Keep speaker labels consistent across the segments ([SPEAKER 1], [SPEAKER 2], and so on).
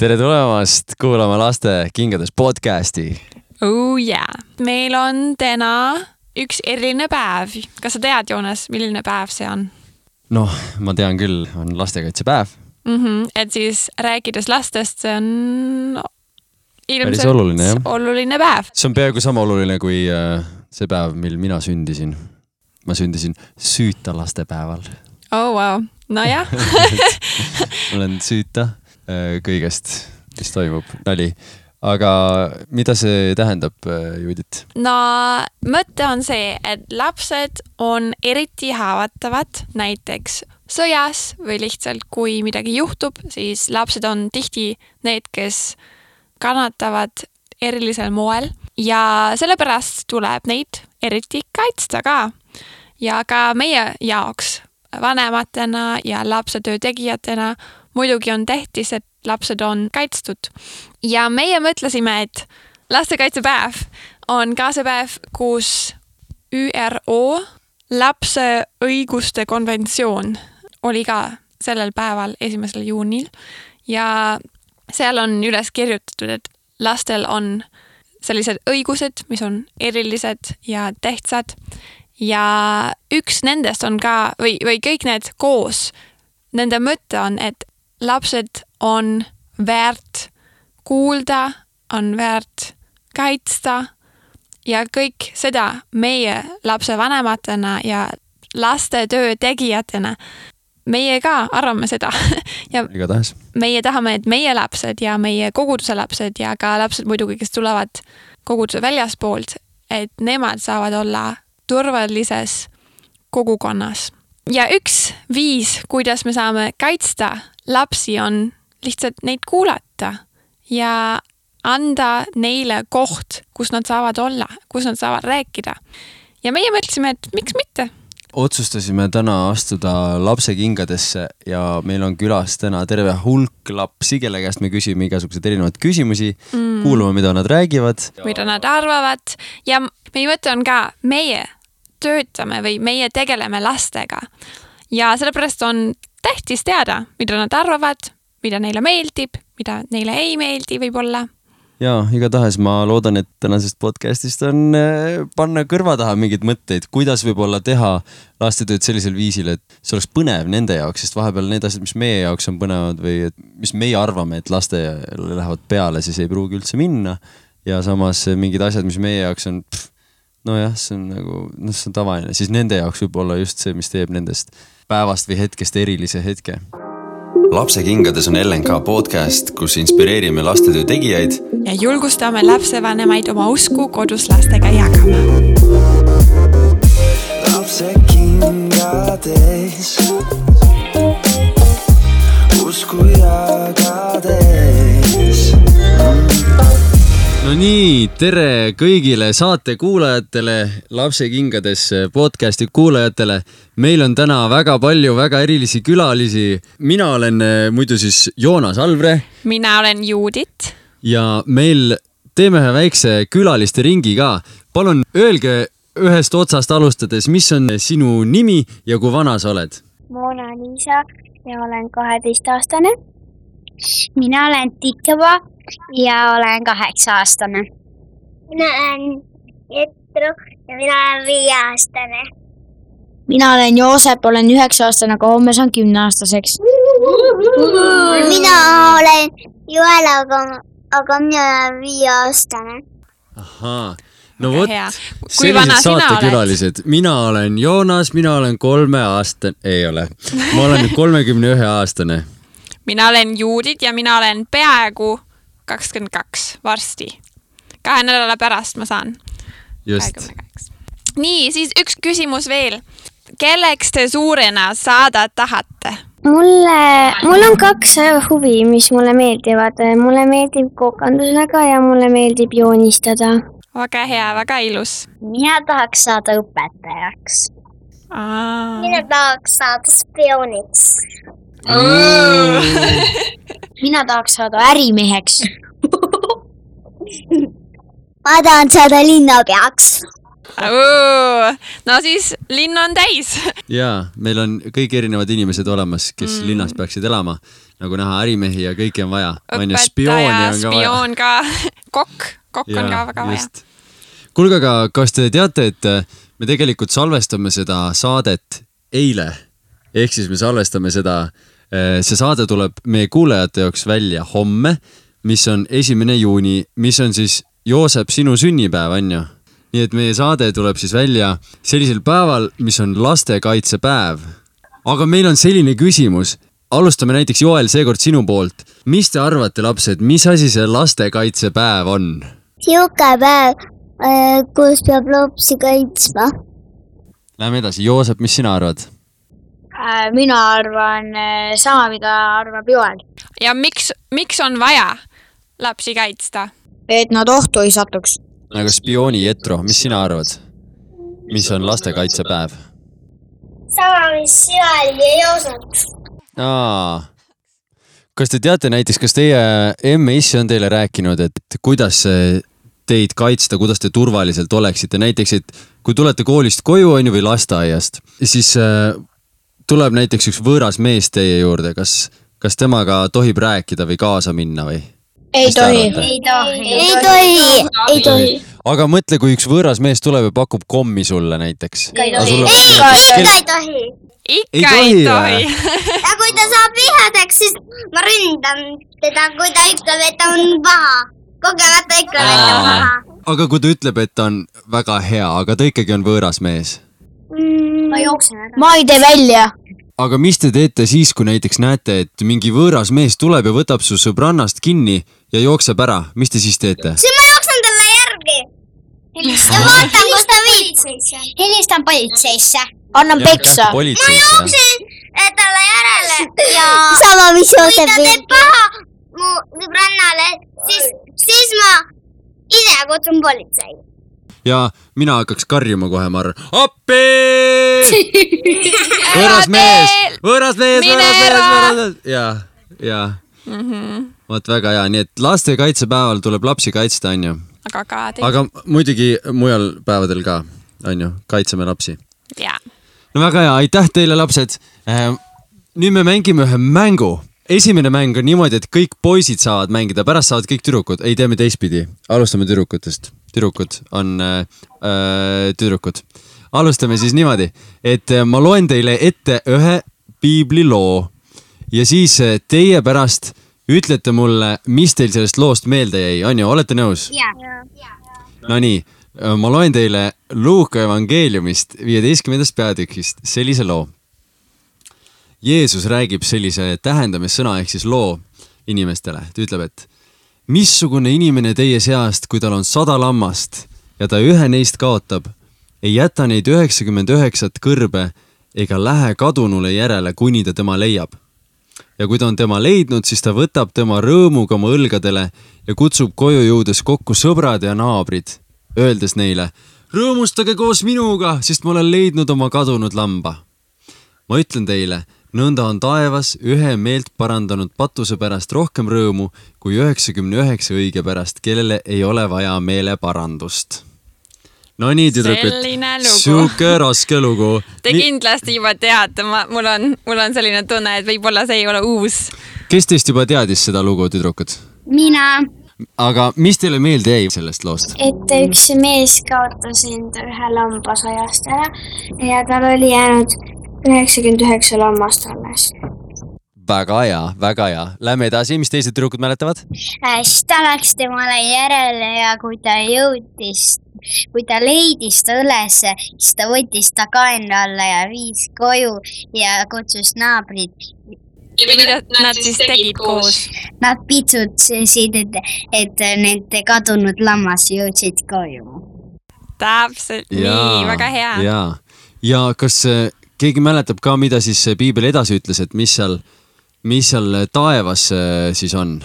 [SPEAKER 1] tere tulemast kuulama Laste kingades podcasti .
[SPEAKER 2] oh jaa yeah. , meil on täna üks eriline päev . kas sa tead , Joonas , milline päev see on
[SPEAKER 1] noh , ma tean küll , on lastekaitsepäev ,
[SPEAKER 2] mm ? -hmm. et siis rääkides lastest , see on ilmselt
[SPEAKER 1] oluline, jah.
[SPEAKER 2] oluline päev .
[SPEAKER 1] see on peaaegu sama oluline kui äh, see päev , mil mina sündisin . ma sündisin süüta lastepäeval ,
[SPEAKER 2] oh vau , nojah ,
[SPEAKER 1] olen süüta äh, kõigest , mis toimub , nali . aga mida see tähendab , Judit ?
[SPEAKER 2] no mõte on see , et lapsed on eriti haavatavad , näiteks sõjas või lihtsalt kui midagi juhtub , siis lapsed on tihti need , kes kannatavad erilisel moel ja sellepärast tuleb neid eriti kaitsta ka . ja ka meie jaoks vanematena ja lapsetöö tegijatena muidugi on tähtis , et lapsed on kaitstud . ja meie mõtlesime , et lastekaitsepäev on ka see päev , kus ÜRO lapse õiguste konventsioon oli ka sellel päeval , esimesel juunil ja seal on üles kirjutatud , et lastel on sellised õigused , mis on erilised ja tähtsad ja üks nendest on ka või , või kõik need koos , nende mõte on , et lapsed on väärt kuulda , on väärt kaitsta ja kõik seda meie lapsevanematena ja lastetöö tegijatena . meie ka arvame seda ja
[SPEAKER 1] igatahes ,
[SPEAKER 2] meie tahame , et meie lapsed ja meie koguduse lapsed ja ka lapsed muidugi , kes tulevad koguduse väljaspoolt , et nemad saavad olla turvalises kogukonnas . ja üks viis , kuidas me saame kaitsta lapsi , on lihtsalt neid kuulata ja anda neile koht , kus nad saavad olla , kus nad saavad rääkida . ja meie mõtlesime , et miks mitte .
[SPEAKER 1] otsustasime täna astuda lapsekingadesse ja meil on külas täna terve hulk lapsi , kelle käest me küsime igasuguseid erinevaid küsimusi mm. , kuulame , mida nad räägivad .
[SPEAKER 2] mida nad arvavad ja meie mõte on ka , meie töötame või meie tegeleme lastega . ja sellepärast on tähtis teada , mida nad arvavad , mida neile meeldib , mida neile ei meeldi võib-olla .
[SPEAKER 1] ja igatahes ma loodan , et tänasest podcast'ist on äh, panna kõrva taha mingeid mõtteid , kuidas võib-olla teha lastetööd sellisel viisil , et see oleks põnev nende jaoks , sest vahepeal need asjad , mis meie jaoks on põnevad või et mis meie arvame , et lastele lähevad peale , siis ei pruugi üldse minna . ja samas äh, mingid asjad , mis meie jaoks on , nojah , see on nagu , noh , see on tavaline , siis nende jaoks võib olla just see , mis teeb nendest päevast või hetkest erilise hetke lapsekingades on LNK podcast , kus inspireerime lastetöö tegijaid
[SPEAKER 2] ja julgustame lapsevanemaid oma usku kodus lastega jagama .
[SPEAKER 3] lapsekingades . usku jagades .
[SPEAKER 1] no nii , tere kõigile saate kuulajatele , lapsekingades podcasti kuulajatele . meil on täna väga palju väga erilisi külalisi . mina olen eh, muidu siis Joonas Alvre
[SPEAKER 2] mina olen Juudit .
[SPEAKER 1] ja meil teeme ühe väikse külaliste ringi ka . palun öelge ühest otsast alustades , mis on sinu nimi ja kui vana sa oled ?
[SPEAKER 4] Mona Liisa ja olen kaheteistaastane . mina olen Tikva ja olen kaheksa-aastane . mina olen Jetru ja mina olen viieaastane .
[SPEAKER 5] mina olen Joosep , olen üheksa-aastane , aga homme saan kümneaastaseks .
[SPEAKER 4] mina olen Joel , aga , aga mina olen viieaastane .
[SPEAKER 1] ahaa , no
[SPEAKER 2] Väga
[SPEAKER 1] vot
[SPEAKER 2] hea. . Kui vana
[SPEAKER 1] sellised
[SPEAKER 2] sina oled?
[SPEAKER 1] saatekülalised , mina olen Joonas , mina olen kolmeaastane , ei ole , ma olen nüüd kolmekümne ühe aastane .
[SPEAKER 2] mina olen Juudit ja mina olen peaaegu kakskümmend kaks varsti . kahe nädala pärast ma saan
[SPEAKER 1] just ,
[SPEAKER 2] kahekümne kaheksa . nii , siis üks küsimus veel . kelleks te suurena saada tahate ?
[SPEAKER 4] mulle , mul on kaks huvi , mis mulle meeldivad . mulle meeldib kokandusega ja mulle meeldib joonistada .
[SPEAKER 2] väga hea , väga ilus .
[SPEAKER 5] mina tahaks saada õpetajaks .
[SPEAKER 4] tahaks saada spiooniks .
[SPEAKER 5] Mm. mina tahaks saada ärimeheks .
[SPEAKER 4] ma tahan saada linnapeaks
[SPEAKER 2] no siis linn on täis .
[SPEAKER 1] ja meil on kõik erinevad inimesed olemas , kes mm. linnas peaksid elama . nagu näha , ärimehi ja kõike on vaja . on ju , spiooni
[SPEAKER 2] õpetaja ,
[SPEAKER 1] on ka vaja .
[SPEAKER 2] spioon ka , kokk , kokk on ka väga vaja .
[SPEAKER 1] vaja . kuulge , aga kas te teate , et äh, me tegelikult salvestame seda saadet eile ehk siis me salvestame seda , see saade tuleb meie kuulajate jaoks välja homme , mis on esimene juuni , mis on siis Joosep , sinu sünnipäev , on ju ? nii et meie saade tuleb siis välja sellisel päeval , mis on lastekaitsepäev . aga meil on selline küsimus , alustame näiteks Joel seekord sinu poolt . mis te arvate , lapsed , mis asi see lastekaitsepäev on ?
[SPEAKER 4] sihuke päev , kus peab lapsi kaitsma .
[SPEAKER 1] Läheme edasi , Joosep , mis sina arvad ?
[SPEAKER 5] Äh, mina arvan äh, sama , mida arvab Joel ,
[SPEAKER 2] ja miks , miks on vaja lapsi kaitsta ?
[SPEAKER 5] et nad ohtu ei satuks .
[SPEAKER 1] nagu spiooni Jetro , mis sina arvad ? mis on lastekaitsepäev ?
[SPEAKER 4] sama , mis sina ei osanud .
[SPEAKER 1] aa . kas te teate näiteks , kas teie emme-issi on teile rääkinud , et kuidas see teid kaitsta , kuidas te turvaliselt oleksite , näiteks , et kui tulete koolist koju , on ju , või lasteaiast , siis äh, tuleb näiteks üks võõras mees teie juurde , kas , kas temaga tohib rääkida või kaasa minna või ?
[SPEAKER 5] ei
[SPEAKER 1] Mis te
[SPEAKER 5] tohi .
[SPEAKER 1] arvate?
[SPEAKER 5] ei tohi
[SPEAKER 4] ei tohi , ei tohi .
[SPEAKER 1] aga mõtle , kui üks võõras mees tuleb ja pakub kommi sulle näiteks .
[SPEAKER 4] ikka ei tohi .
[SPEAKER 1] Ei
[SPEAKER 2] ikka
[SPEAKER 1] tohi
[SPEAKER 2] ei
[SPEAKER 1] või?
[SPEAKER 2] tohi .
[SPEAKER 4] ja kui ta saab vihaseks , siis ma ründan teda , kui ta ütleb , et ta on paha . kogemata ütleb , et ta on paha .
[SPEAKER 1] aga kui ta ütleb , et ta on väga hea , aga ta ikkagi on võõras mees .
[SPEAKER 4] ma jooksen ära .
[SPEAKER 5] ma ei tee välja .
[SPEAKER 1] aga mis te teete siis , kui näiteks näete , et mingi võõras mees tuleb ja võtab su sõbrannast kinni ja jookseb ära , mis te siis teete ?
[SPEAKER 4] siis ma jooksen talle järgi . ja vaatan , kus ta viitsis . helistan politseisse .
[SPEAKER 5] annan peksa .
[SPEAKER 1] politseisse .
[SPEAKER 4] jooksen talle järele ja
[SPEAKER 5] sama , mis
[SPEAKER 4] kui ta teeb paha mu sõbrannale , siis , siis ma ise kutsun politsei .
[SPEAKER 1] ja mina hakkaks karjuma kohe , ma arvan , appi . võõras mees , võõras mees ,
[SPEAKER 2] Mine
[SPEAKER 1] võõras mees ,
[SPEAKER 2] ära!
[SPEAKER 1] võõras mees ja , ja vot väga hea , nii et lastekaitsepäeval tuleb lapsi kaitsta , onju ,
[SPEAKER 2] aga ka teid
[SPEAKER 1] aga muidugi mujal päevadel ka , onju , kaitseme lapsi
[SPEAKER 2] ja
[SPEAKER 1] no väga hea , aitäh teile , lapsed . nüüd me mängime ühe mängu . esimene mäng on niimoodi , et kõik poisid saavad mängida , pärast saavad kõik tüdrukud . ei , teeme teistpidi . alustame tüdrukutest . tüdrukud on äh, äh, tüdrukud . alustame siis niimoodi , et äh, ma loen teile ette ühe piibliloo ja siis äh, teie pärast ütlete mulle , mis teil sellest loost meelde jäi , on ju , olete nõus ? Nonii , äh, ma loen teile Luuka evangeeliumist viieteistkümnendast peatükist sellise loo . Jeesus räägib sellise tähendamissõna ehk siis loo inimestele , ta ütleb , et missugune inimene teie seast , kui tal on sada lammast ja ta ühe neist kaotab , ei jäta neid üheksakümmend üheksat kõrbe ega lähe kadunule järele , kuni ta tema leiab ja kui ta on tema leidnud , siis ta võtab tema rõõmuga oma õlgadele ja kutsub koju jõudes kokku sõbrad ja naabrid , öeldes neile , rõõmustage koos minuga , sest ma olen leidnud oma kadunud lamba . ma ütlen teile , nõnda on taevas ühe meelt parandanud patuse pärast rohkem rõõmu kui üheksakümne üheksa õige pärast , kellele ei ole vaja meeleparandust . Nonii , tüdrukud
[SPEAKER 2] Selline lugu. ,
[SPEAKER 1] sihuke raske lugu .
[SPEAKER 2] te kindlasti juba teate , ma , mul on , mul on selline tunne , et võib-olla see ei ole uus .
[SPEAKER 1] kes teist juba teadis seda lugu , tüdrukud ?
[SPEAKER 4] mina ,
[SPEAKER 1] aga mis teile meelde jäi sellest loost ?
[SPEAKER 4] et üks mees kaotas enda ühe lamba sajast ära ja tal oli jäänud üheksakümmend üheksa lammast alles .
[SPEAKER 1] väga hea , väga hea . Lähme edasi , mis teised tüdrukud mäletavad ?
[SPEAKER 4] siis ta läks temale järele ja kui ta jõudis , kui ta leidis ta ülesse , siis ta võttis ta kaena alla ja viis koju ja kutsus naabrid .
[SPEAKER 2] ja mida nad siis tegid koos ?
[SPEAKER 4] Nad pitsutasid , et , et nende kadunud lammas jõudsid koju .
[SPEAKER 2] täpselt nii , väga hea .
[SPEAKER 1] ja , ja kas äh, keegi mäletab ka , mida siis see piibel edasi ütles , et mis seal , mis seal taevas äh, siis on ?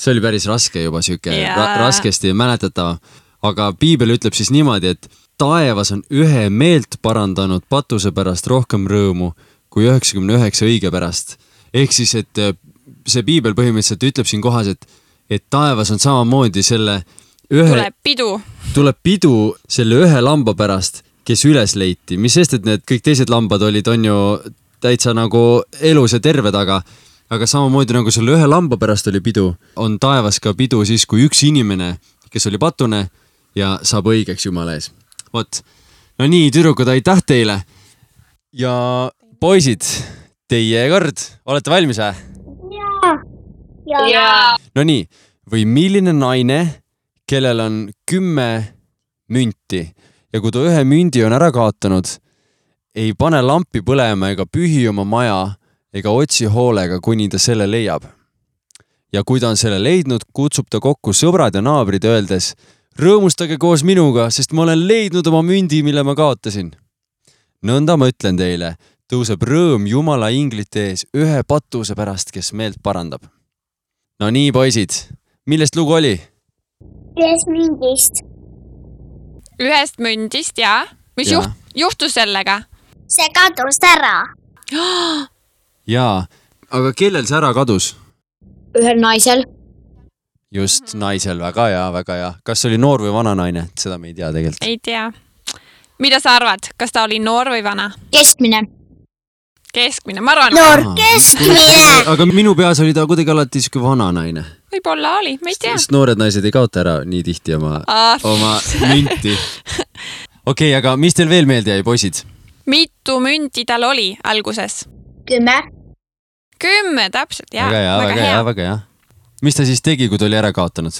[SPEAKER 1] see oli päris raske juba sihuke
[SPEAKER 2] Jaa.
[SPEAKER 1] ra raskesti mäletatav , aga piibel ütleb siis niimoodi , et taevas on ühe meelt parandanud patuse pärast rohkem rõõmu kui üheksakümne üheksa õige pärast . ehk siis , et äh, see piibel põhimõtteliselt ütleb siin kohas , et , et taevas on samamoodi selle ühe
[SPEAKER 2] tuleb pidu
[SPEAKER 1] tuleb pidu selle ühe lamba pärast , kes üles leiti , mis sest , et need kõik teised lambad olid , on ju täitsa nagu elus ja terved , aga , aga samamoodi nagu selle ühe lamba pärast oli pidu , on taevas ka pidu siis , kui üks inimene , kes oli patune ja saab õigeks Jumala ees . vot , no nii , tüdrukud , aitäh teile . ja poisid , teie kord , olete valmis või ?
[SPEAKER 4] jaa . jaa ja. .
[SPEAKER 1] Nonii , või milline naine , kellel on kümme münti ja kui ta ühe mündi on ära kaotanud , ei pane lampi põlema ega pühi oma maja ega otsi hoolega , kuni ta selle leiab . ja kui ta on selle leidnud , kutsub ta kokku sõbrad ja naabrid , öeldes rõõmustage koos minuga , sest ma olen leidnud oma mündi , mille ma kaotasin . nõnda ma ütlen teile , tõuseb rõõm Jumala inglite ees ühe patuse pärast , kes meelt parandab . no nii , poisid , millest lugu oli ?
[SPEAKER 4] ühes mingist .
[SPEAKER 2] ühest mündist ja mis
[SPEAKER 1] Jaa.
[SPEAKER 2] juht- , juhtus sellega ?
[SPEAKER 4] see kadus ära .
[SPEAKER 1] jaa , aga kellel see ära kadus ?
[SPEAKER 5] ühel naisel ,
[SPEAKER 1] just naisel , väga hea , väga hea . kas see oli noor või vana naine , seda me ei tea tegelikult .
[SPEAKER 2] ei tea . mida sa arvad , kas ta oli noor või vana ?
[SPEAKER 5] keskmine ,
[SPEAKER 2] keskmine , ma arvan no. ,
[SPEAKER 4] noor keskmine .
[SPEAKER 1] aga minu peas oli ta kuidagi alati sihuke vana naine ,
[SPEAKER 2] võib-olla oli , ma ei tea . Ah,
[SPEAKER 1] sest Oh. noored naised ei kaota ära nii tihti oma , oma münti . okei okay, , aga mis teil veel meelde jäi , poisid ?
[SPEAKER 2] mitu mündi tal oli alguses ?
[SPEAKER 4] kümme .
[SPEAKER 2] kümme täpselt , jaa .
[SPEAKER 1] väga hea , väga hea , väga hea . mis ta siis tegi , kui ta oli ära kaotanud ?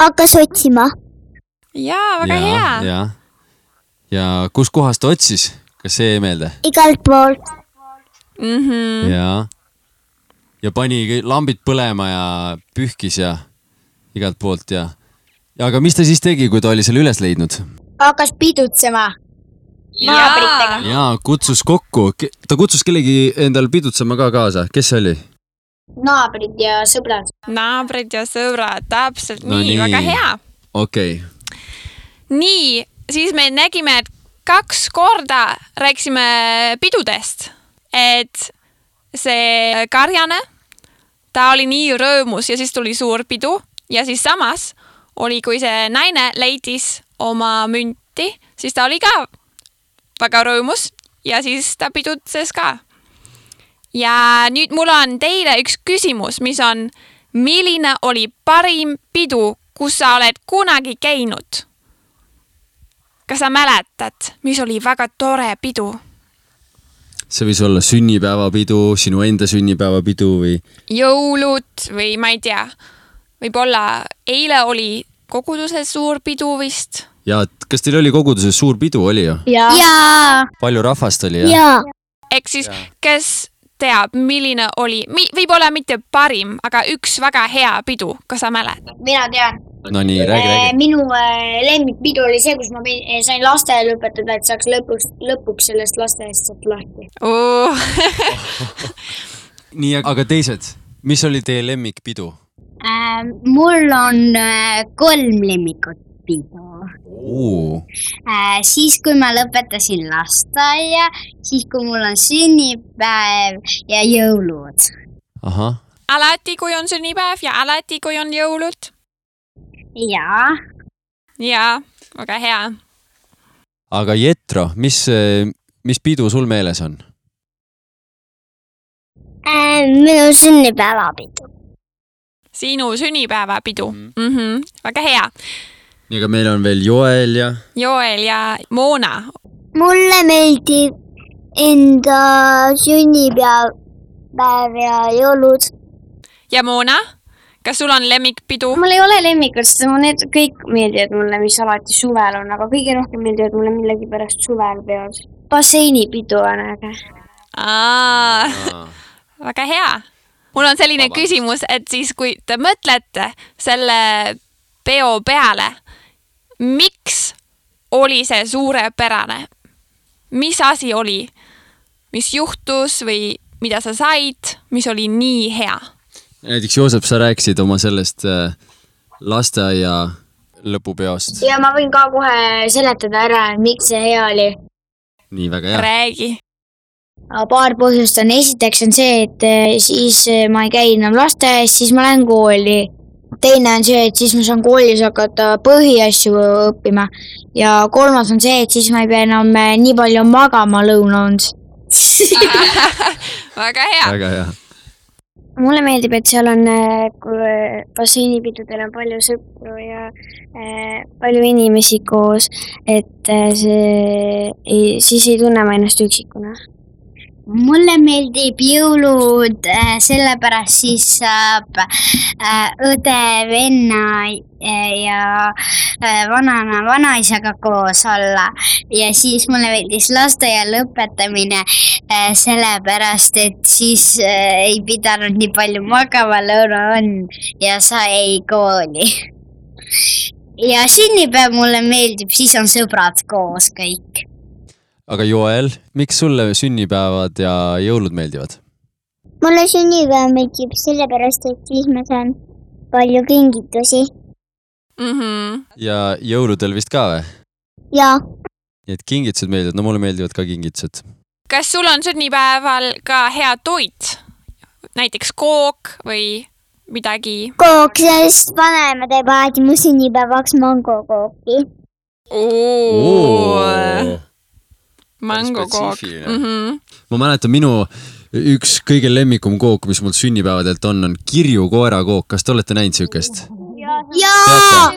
[SPEAKER 4] hakkas otsima .
[SPEAKER 2] jaa , väga hea .
[SPEAKER 1] ja, . ja kus kohas ta otsis , kas see jäi meelde ?
[SPEAKER 4] igalt poolt .
[SPEAKER 2] Mm -hmm.
[SPEAKER 1] ja , ja pani kõi- lambid põlema ja pühkis ja igalt poolt ja . aga mis ta siis tegi , kui ta oli selle üles leidnud ?
[SPEAKER 5] hakkas pidutsema ,
[SPEAKER 2] naabritega .
[SPEAKER 1] ja kutsus kokku , ta kutsus kellegi endal pidutsema ka kaasa , kes see oli ?
[SPEAKER 5] naabrid ja sõbrad .
[SPEAKER 2] naabrid ja sõbrad , täpselt
[SPEAKER 1] No
[SPEAKER 2] no, nii, nii. ,
[SPEAKER 1] nii.
[SPEAKER 2] väga hea .
[SPEAKER 1] okei okay. ,
[SPEAKER 2] nii , siis me nägime , et kaks korda rääkisime pidudest , et see karjane , ta oli nii rõõmus ja siis tuli suur pidu ja siis samas oli , kui see naine leidis oma münti , siis ta oli ka väga rõõmus ja siis ta pidutses ka . ja nüüd mul on teile üks küsimus , mis on , milline oli parim pidu , kus sa oled kunagi käinud ? kas sa mäletad , mis oli väga tore pidu ?
[SPEAKER 1] see võis olla sünnipäevapidu , sinu enda sünnipäevapidu või ?
[SPEAKER 2] jõulud või ma ei tea , võib-olla eile oli koguduses suur pidu vist .
[SPEAKER 1] ja et kas teil oli koguduses suur pidu , oli ju ?
[SPEAKER 5] ja, ja.
[SPEAKER 4] jaa .
[SPEAKER 1] palju rahvast oli ja ?
[SPEAKER 4] jaa .
[SPEAKER 2] ehk siis , kes teab , milline oli , võib-olla mitte parim , aga üks väga hea pidu , kas sa mäletad ?
[SPEAKER 5] mina tean .
[SPEAKER 1] Nonii , räägi , räägi .
[SPEAKER 5] minu äh, lemmikpidu oli see , kus ma pidin- eh, sain lasteaia lõpetada , et saaks lõpuks , lõpuks sellest lasteaiast sealt lahti .
[SPEAKER 1] nii , aga teised , mis oli teie lemmikpidu ?
[SPEAKER 4] Äh, mul on äh, kolm lemmikut pidu . Äh, siis , kui ma lõpetasin lasteaia , siis kui mul on sünnipäev ja jõulud .
[SPEAKER 1] ahah ,
[SPEAKER 2] alati , kui on sünnipäev ja alati , kui on jõulud
[SPEAKER 4] jaa .
[SPEAKER 2] ja väga hea .
[SPEAKER 1] aga Jetro , mis , mis pidu sul meeles on ?
[SPEAKER 5] Äh,
[SPEAKER 4] minu sünnipäevapidu .
[SPEAKER 2] sinu sünnipäevapidu
[SPEAKER 1] Mhm.
[SPEAKER 2] mm , -hmm. väga hea .
[SPEAKER 1] nii , aga meil on veel Joel ja .
[SPEAKER 2] Joel ja Moona
[SPEAKER 4] mulle meeldib enda sünnipäev päev ja jõulud .
[SPEAKER 2] ja Moona , kas sul on lemmikpidu ?
[SPEAKER 5] mul ei ole lemmikut , sest mul need kõik meeldivad mulle , mis alati suvel on , aga kõige rohkem meeldivad mulle millegipärast suvel peod . basseinipidu on äge .
[SPEAKER 2] väga hea . mul on selline Vabandust. küsimus , et siis , kui te mõtlete selle peo peale , miks oli see suurepärane ? mis asi oli , mis juhtus või mida sa said , mis oli nii hea ?
[SPEAKER 1] näiteks Joosep , sa rääkisid oma sellest äh, lasteaia lõpupeost .
[SPEAKER 5] ja ma võin ka kohe seletada ära , miks see hea oli .
[SPEAKER 1] nii väga hea .
[SPEAKER 2] räägi .
[SPEAKER 5] paar põhjust on , esiteks on see , et eh, siis eh, ma ei käi enam lasteaias , siis ma lähen kooli . teine on see , et siis ma saan koolis hakata põhiasju äh, õppima ja kolmas on see , et siis ma ei pea enam eh, nii palju magama lõuna und .
[SPEAKER 2] väga hea .
[SPEAKER 1] väga hea .
[SPEAKER 4] mulle meeldib , et seal on , basseinipidudel on palju sõpru ja äh, palju inimesi koos , et äh, see , siis ei tunne ma ennast üksikuna .
[SPEAKER 5] mulle meeldib jõulud , sellepärast siis saab äh, õde , venna äh, ja vanaema , vanaisaga koos olla ja siis mulle meeldis lasteaia lõpetamine , Äh, sellepärast et siis äh, ei pidanud nii palju magama , lõuna on ja sai kooli . ja sünnipäev mulle meeldib , siis on sõbrad koos kõik .
[SPEAKER 1] aga Joel , miks sulle sünnipäevad ja jõulud meeldivad ?
[SPEAKER 4] mulle sünnipäev meeldib sellepärast , et siis ma saan palju kingitusi
[SPEAKER 2] Mm -hmm.
[SPEAKER 1] ja jõuludel vist ka või ?
[SPEAKER 4] ja
[SPEAKER 1] nii et kingitused meeldivad , no mulle meeldivad ka kingitused .
[SPEAKER 2] kas sul on sünnipäeval ka hea toit ? näiteks kook või midagi ?
[SPEAKER 4] kook , sest vanaema teeb alati mu sünnipäevaks mangokooki .
[SPEAKER 2] mangokook .
[SPEAKER 1] spetsiifiline.
[SPEAKER 2] Mm -hmm.
[SPEAKER 1] ma mäletan , minu üks kõige lemmikum kook , mis mul sünnipäevadelt on , on kirju koerakook , kas te olete näinud siukest ?
[SPEAKER 5] jaa ,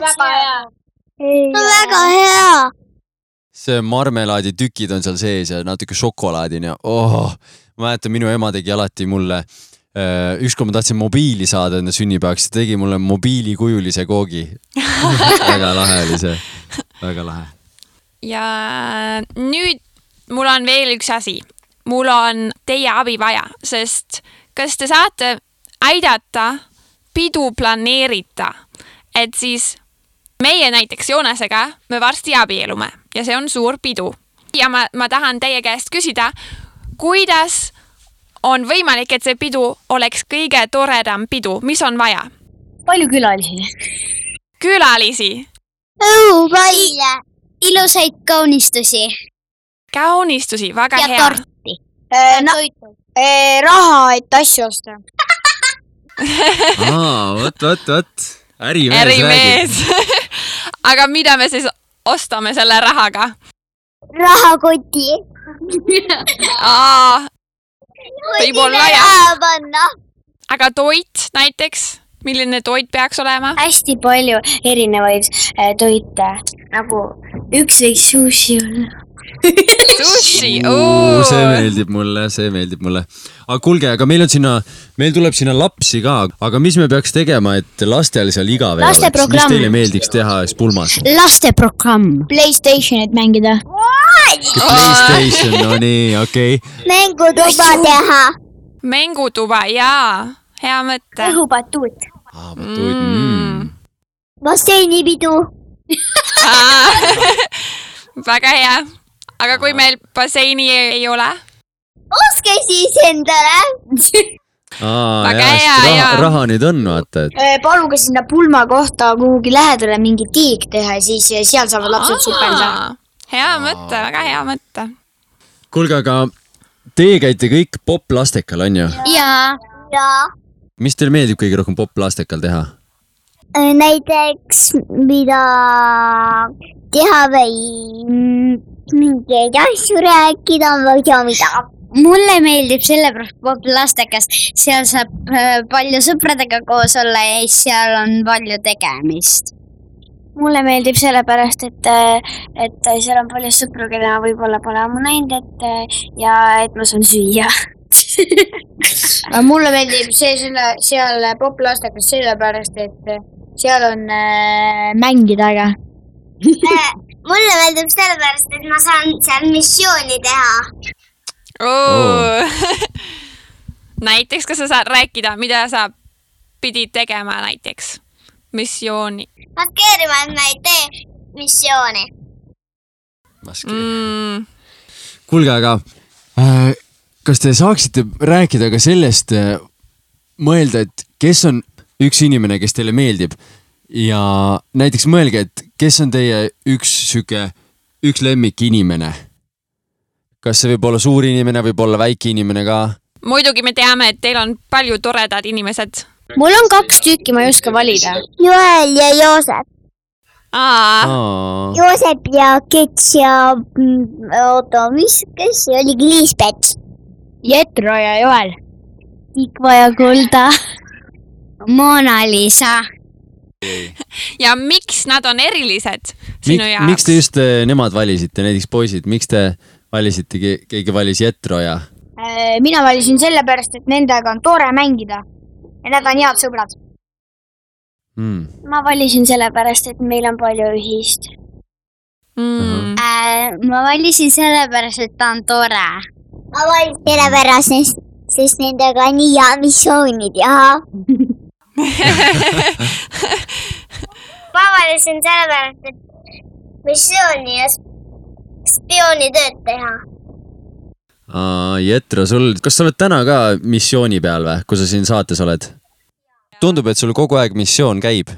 [SPEAKER 5] väga hea .
[SPEAKER 1] see marmelaaditükid on seal sees ja natuke šokolaadini ja oh, ma mäletan , minu ema tegi alati mulle , ükskord ma tahtsin mobiili saada enda sünnipäevaks , ta tegi mulle mobiilikujulise koogi . väga lahe oli see , väga lahe .
[SPEAKER 2] ja nüüd mul on veel üks asi . mul on teie abi vaja , sest kas te saate aidata pidu planeerida , et siis meie näiteks Joonasega , me varsti abiellume ja see on suur pidu ja ma , ma tahan teie käest küsida , kuidas on võimalik , et see pidu oleks kõige toredam pidu , mis on vaja ?
[SPEAKER 5] palju külalisi ?
[SPEAKER 2] külalisi ,
[SPEAKER 5] õupaile , ilusaid kaunistusi
[SPEAKER 2] kaunistusi , väga
[SPEAKER 5] ja
[SPEAKER 2] hea .
[SPEAKER 5] torti .
[SPEAKER 4] Äh, no äh, raha , et asju osta .
[SPEAKER 1] aa , vot , vot , vot , ärimees,
[SPEAKER 2] ärimees . aga mida me siis ostame selle rahaga ?
[SPEAKER 4] rahakoti .
[SPEAKER 2] Võib-olla jah.
[SPEAKER 4] panna .
[SPEAKER 2] aga toit näiteks , milline toit peaks olema ?
[SPEAKER 4] hästi palju erinevaid äh, toite , nagu üks võiks sushi olla .
[SPEAKER 2] sushi ,
[SPEAKER 1] see meeldib mulle , see meeldib mulle . aga kuulge , aga meil on sinna , meil tuleb sinna lapsi ka , aga mis me peaks tegema , et lastel seal igav ei oleks , mis
[SPEAKER 5] Lasteprogramm.
[SPEAKER 1] teile meeldiks teha siis pulmas ?
[SPEAKER 5] lasteprogramm . Playstationit mängida .
[SPEAKER 1] Playstation , no nii , okei okay. .
[SPEAKER 4] mängutuba teha .
[SPEAKER 2] mängutuba jaa , hea mõte .
[SPEAKER 4] õhupatuut .
[SPEAKER 1] aa , batuut mm. .
[SPEAKER 4] basseinipidu .
[SPEAKER 2] väga hea , aga kui meil basseini ei ei ole ?
[SPEAKER 4] ostke siis endale
[SPEAKER 1] aa ,
[SPEAKER 2] Väga
[SPEAKER 1] jaa ,
[SPEAKER 2] hea,
[SPEAKER 1] sest raha
[SPEAKER 2] jaa. ,
[SPEAKER 1] raha nüüd on , vaata , et
[SPEAKER 4] Äh,
[SPEAKER 5] paluge sinna pulma kohta kuhugi lähedale mingi tiik teha ja siis
[SPEAKER 4] äh,
[SPEAKER 5] seal saavad lapsed supelda .
[SPEAKER 2] hea mõte , väga hea mõte .
[SPEAKER 1] kuulge , aga teie käite kõik poplastekal , onju ?
[SPEAKER 5] jaa .
[SPEAKER 4] ja
[SPEAKER 1] mis teile meeldib kõige rohkem poplastekal teha ?
[SPEAKER 4] näiteks mida teha või mm, mingeid asju rääkida või tea mida .
[SPEAKER 5] mulle meeldib sellepärast pop lastekas , seal saab äh, palju sõpradega koos olla ja siis seal on palju tegemist .
[SPEAKER 4] mulle meeldib sellepärast , et , et seal on palju sõpru , keda ma võib-olla pole ammu näinud , et ja et ma saan süüa .
[SPEAKER 5] mulle meeldib see selle , seal pop lastekas sellepärast , et seal on äh, mängida äge .
[SPEAKER 4] Äh, mulle meeldib sellepärast , et ma saan seal missiooni teha .
[SPEAKER 1] Oo.
[SPEAKER 2] näiteks , kas sa saad rääkida , mida sa pidid tegema näiteks missiooni
[SPEAKER 4] markeerima , et ma ei tee missiooni .
[SPEAKER 2] mm, ?
[SPEAKER 1] kuulge , aga äh, kas te saaksite rääkida ka sellest , mõelda , et kes on üks inimene , kes teile meeldib ja näiteks mõelge , et kes on teie üks sihuke , üks lemmikinimene . kas see võib olla suur inimene , võib olla väike inimene ka .
[SPEAKER 2] muidugi me teame , et teil on palju toredad inimesed .
[SPEAKER 5] mul on kaks tükki , ma ei oska valida .
[SPEAKER 4] Joel ja Joosep .
[SPEAKER 2] aa ,
[SPEAKER 1] aa ,
[SPEAKER 4] Joosep ja Kets ja mm, oota , mis , kes see oli , Liisbets . Jetro ja Joel .
[SPEAKER 5] Tikva ja Kulda . Mona Lisa .
[SPEAKER 2] ja miks nad on erilised sinu
[SPEAKER 1] Mik,
[SPEAKER 2] jaoks
[SPEAKER 1] miks te just eh, nemad valisite , näiteks poisid , miks te valisite , keegi valis Jetro ja
[SPEAKER 4] Äh, mina valisin sellepärast , et nendega on tore mängida ja nad on head sõbrad .
[SPEAKER 1] mm. ?
[SPEAKER 4] ma valisin sellepärast , et meil on palju ühist .
[SPEAKER 2] mm. ?
[SPEAKER 4] Äh,
[SPEAKER 5] ma valisin sellepärast , et ta on tore .
[SPEAKER 4] ma valisin sellepärast , sest , sest nendega on nii hea missioonid ja . ma valisin sellepärast , et missiooni ja spioonitööd teha .
[SPEAKER 1] Jetro , sul , kas sa oled täna ka missiooni peal või , kui sa siin saates oled ? tundub , et sul kogu aeg missioon käib .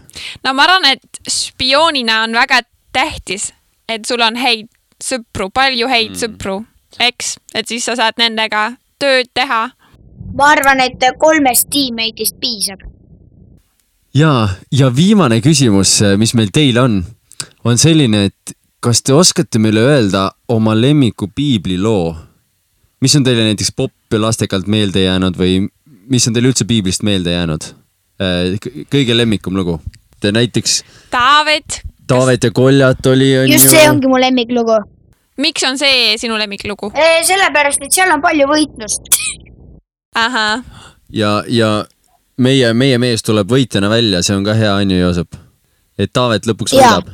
[SPEAKER 2] no ma arvan , et spioonina on väga tähtis , et sul on häid sõpru , palju häid mm. sõpru , eks , et siis sa saad nendega tööd teha .
[SPEAKER 4] ma arvan , et kolmest tiimmeidist piisab .
[SPEAKER 1] ja , ja viimane küsimus , mis meil teile on , on selline , et kas te oskate meile öelda oma lemmiku piibliloo ? mis on teile näiteks popp ja lastekalt meelde jäänud või mis on teile üldse piiblist meelde jäänud ? kõige lemmikum lugu ? Te näiteks
[SPEAKER 2] Taavet ,
[SPEAKER 1] Taavet ja Koljat oli , on
[SPEAKER 4] just see
[SPEAKER 1] ju .
[SPEAKER 4] ongi mu lemmiklugu .
[SPEAKER 2] miks on see sinu lemmiklugu ?
[SPEAKER 4] Eh, sellepärast , et seal on palju võitlust .
[SPEAKER 2] ahah ,
[SPEAKER 1] ja , ja meie , meie mees tuleb võitjana välja , see on ka hea , on ju , Joosep ? et Taavet lõpuks
[SPEAKER 4] Jaa.
[SPEAKER 1] võidab .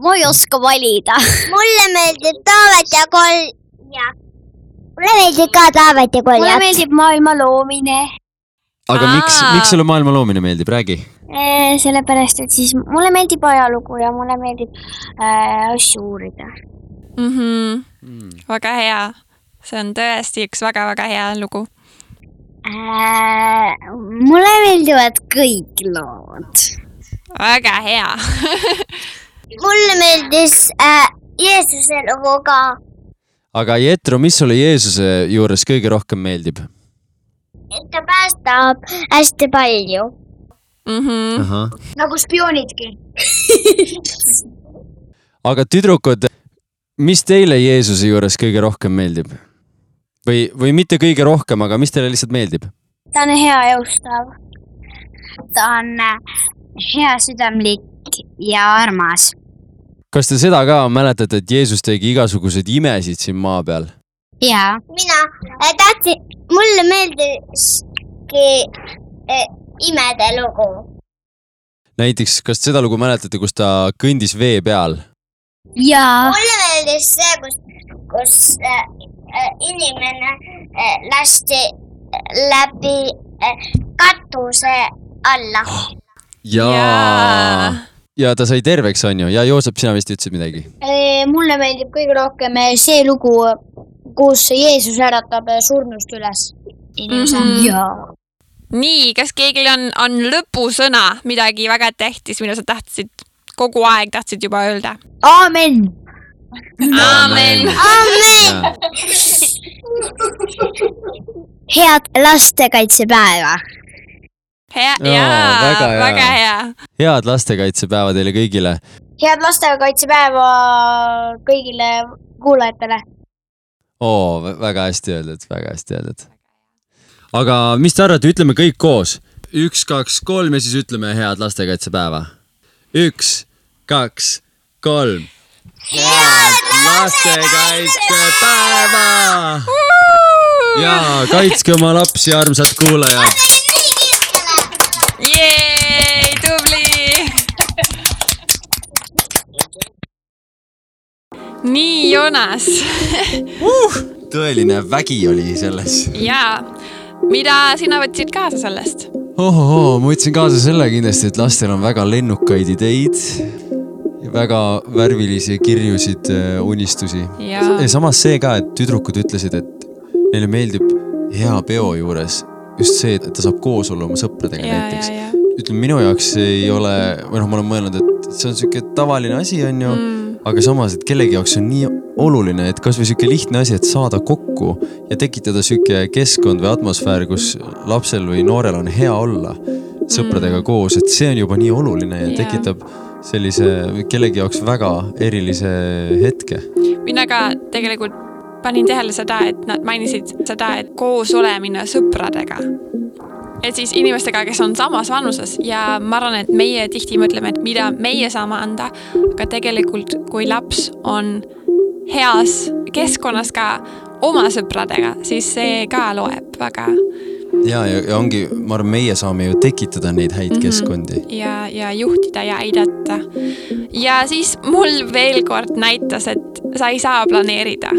[SPEAKER 5] ma ei oska valida .
[SPEAKER 4] mulle meeldib Taavet ja Kol- . mulle meeldib ka Taavet ja Koljat .
[SPEAKER 5] mulle meeldib maailma loomine .
[SPEAKER 1] aga Aa. miks ,
[SPEAKER 2] Aa.
[SPEAKER 1] miks sulle maailma loomine meeldib , räägi .
[SPEAKER 4] Eh,
[SPEAKER 5] sellepärast , et siis mulle meeldib ajalugu ja mulle meeldib äh, asju uurida .
[SPEAKER 2] mhmh , Mhm.
[SPEAKER 1] Mm.
[SPEAKER 2] väga hea , see on tõesti üks väga-väga hea lugu .
[SPEAKER 4] Eh,
[SPEAKER 5] äh, . mulle meeldivad kõik lood .
[SPEAKER 2] väga hea .
[SPEAKER 4] mulle meeldis äh, Jeesuse lugu ka .
[SPEAKER 1] aga Jetro , mis sulle Jeesuse juures kõige rohkem meeldib ?
[SPEAKER 4] et ta päästab hästi palju .
[SPEAKER 2] mhmh ,
[SPEAKER 1] aga
[SPEAKER 4] nagu spioonidki .
[SPEAKER 1] tüdrukud , mis teile Jeesuse juures kõige rohkem meeldib ? või , või mitte kõige rohkem , aga mis teile lihtsalt meeldib ?
[SPEAKER 4] ta on hea ja ustav .
[SPEAKER 5] ta on äh, hea , südamlik ja armas .
[SPEAKER 1] kas te seda ka mäletate , et Jeesus tegi igasuguseid imesid siin maa peal ?
[SPEAKER 5] jaa .
[SPEAKER 4] mina äh, tahtsin , mulle meeldiski äh, imede lugu .
[SPEAKER 1] näiteks , kas seda lugu mäletate , kus ta kõndis vee peal ?
[SPEAKER 5] jaa .
[SPEAKER 4] mulle meeldis see , kus , kus äh, äh, inimene äh, lasti läbi äh, katuse alla .
[SPEAKER 5] Oh.
[SPEAKER 1] jaa . ja ta sai terveks , on ju , ja Joosep , sina vist ütlesid midagi .
[SPEAKER 4] mulle meeldib kõige rohkem eh, see lugu , kus Jeesus äratab eh, surnust üles inimese mm .
[SPEAKER 2] Mhm.
[SPEAKER 4] -hmm.
[SPEAKER 5] jaa .
[SPEAKER 2] nii , kas keegi on , on lõpusõna midagi väga tähtis , mida sa tahtsid , kogu aeg tahtsid juba öelda ?
[SPEAKER 5] aamen .
[SPEAKER 2] aamen .
[SPEAKER 1] aamen .
[SPEAKER 5] head lastekaitsepäeva .
[SPEAKER 2] hea ,
[SPEAKER 1] Jaa,
[SPEAKER 2] jaa ,
[SPEAKER 1] väga hea.
[SPEAKER 2] väga hea .
[SPEAKER 1] head lastekaitsepäeva teile kõigile .
[SPEAKER 4] head lastekaitsepäeva kõigile kuulajatele .
[SPEAKER 1] oo , väga hästi öeldud , väga hästi öeldud . aga mis te arvate , ütleme kõik koos . üks , kaks , kolm ja siis ütleme head lastekaitsepäeva . üks , kaks , kolm . head lastekaitsepäeva . ja kaitske oma lapsi , armsad kuulajad .
[SPEAKER 2] Jeei , tubli . nii , Jonas
[SPEAKER 1] tõeline vägi oli selles
[SPEAKER 2] ja mida sina võtsid kaasa sellest ?
[SPEAKER 1] ohohoo , ma võtsin kaasa selle kindlasti , et lastel on väga lennukaid ideid , väga värvilisi , kirjusid äh, unistusi .
[SPEAKER 2] Jaa.
[SPEAKER 1] ja samas see ka , et tüdrukud ütlesid , et neile meeldib hea peo juures just see , et ta saab koos olla oma sõpradega
[SPEAKER 2] Jaa,
[SPEAKER 1] näiteks
[SPEAKER 2] jaa, .
[SPEAKER 1] ütleme minu jaoks ei ole , või noh , ma olen mõelnud , et see on sihuke tavaline asi , on ju mm. , aga samas , et kellegi jaoks on nii oluline , et kasvõi sihuke lihtne asi , et saada kokku ja tekitada sihuke keskkond või atmosfäär , kus lapsel või noorel on hea olla
[SPEAKER 2] Mm.
[SPEAKER 1] sõpradega koos , et see on juba nii oluline ja
[SPEAKER 2] Jaa.
[SPEAKER 1] tekitab sellise kellegi jaoks väga erilise hetke .
[SPEAKER 2] mina ka tegelikult panin tähele seda , et nad mainisid seda , et koos olemine sõpradega . et siis inimestega , kes on samas vanuses ja ma arvan , et meie tihti mõtleme , et mida meie saame anda , aga tegelikult , kui laps on heas keskkonnas ka oma sõpradega , siis see ka loeb väga
[SPEAKER 1] ja , ja , ja ongi , ma arvan , meie saame ju tekitada neid häid mm
[SPEAKER 2] Mhm.
[SPEAKER 1] -hmm. keskkondi .
[SPEAKER 2] ja , ja juhtida ja aidata . ja siis mul veel kord näitas , et sa ei saa planeerida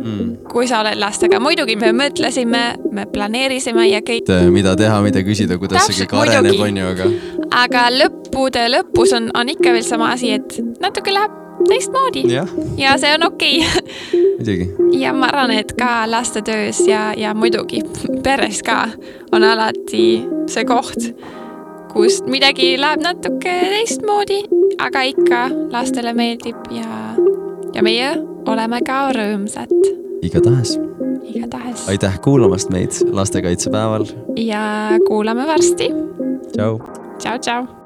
[SPEAKER 1] Mm.
[SPEAKER 2] kui sa oled lastega , muidugi me mõtlesime , me planeerisime ja kõik ,
[SPEAKER 1] äh, mida teha , mida küsida , kuidas see
[SPEAKER 2] Täpselt,
[SPEAKER 1] kõik areneb ,
[SPEAKER 2] muidugi.
[SPEAKER 1] onju , aga
[SPEAKER 2] aga lõppude lõpus on , on ikka veel sama asi , et natuke läheb teistmoodi
[SPEAKER 1] jah ,
[SPEAKER 2] ja, ja see on okei okay. .
[SPEAKER 1] muidugi .
[SPEAKER 2] ja ma arvan , et ka laste töös ja , ja muidugi peres ka on alati see koht , kus midagi läheb natuke teistmoodi , aga ikka lastele meeldib ja , ja meie oleme ka rõõmsad
[SPEAKER 1] igatahes ,
[SPEAKER 2] igatahes
[SPEAKER 1] aitäh kuulamast meid lastekaitsepäeval .
[SPEAKER 2] ja kuulame varsti
[SPEAKER 1] tšau .
[SPEAKER 2] tšau-tšau .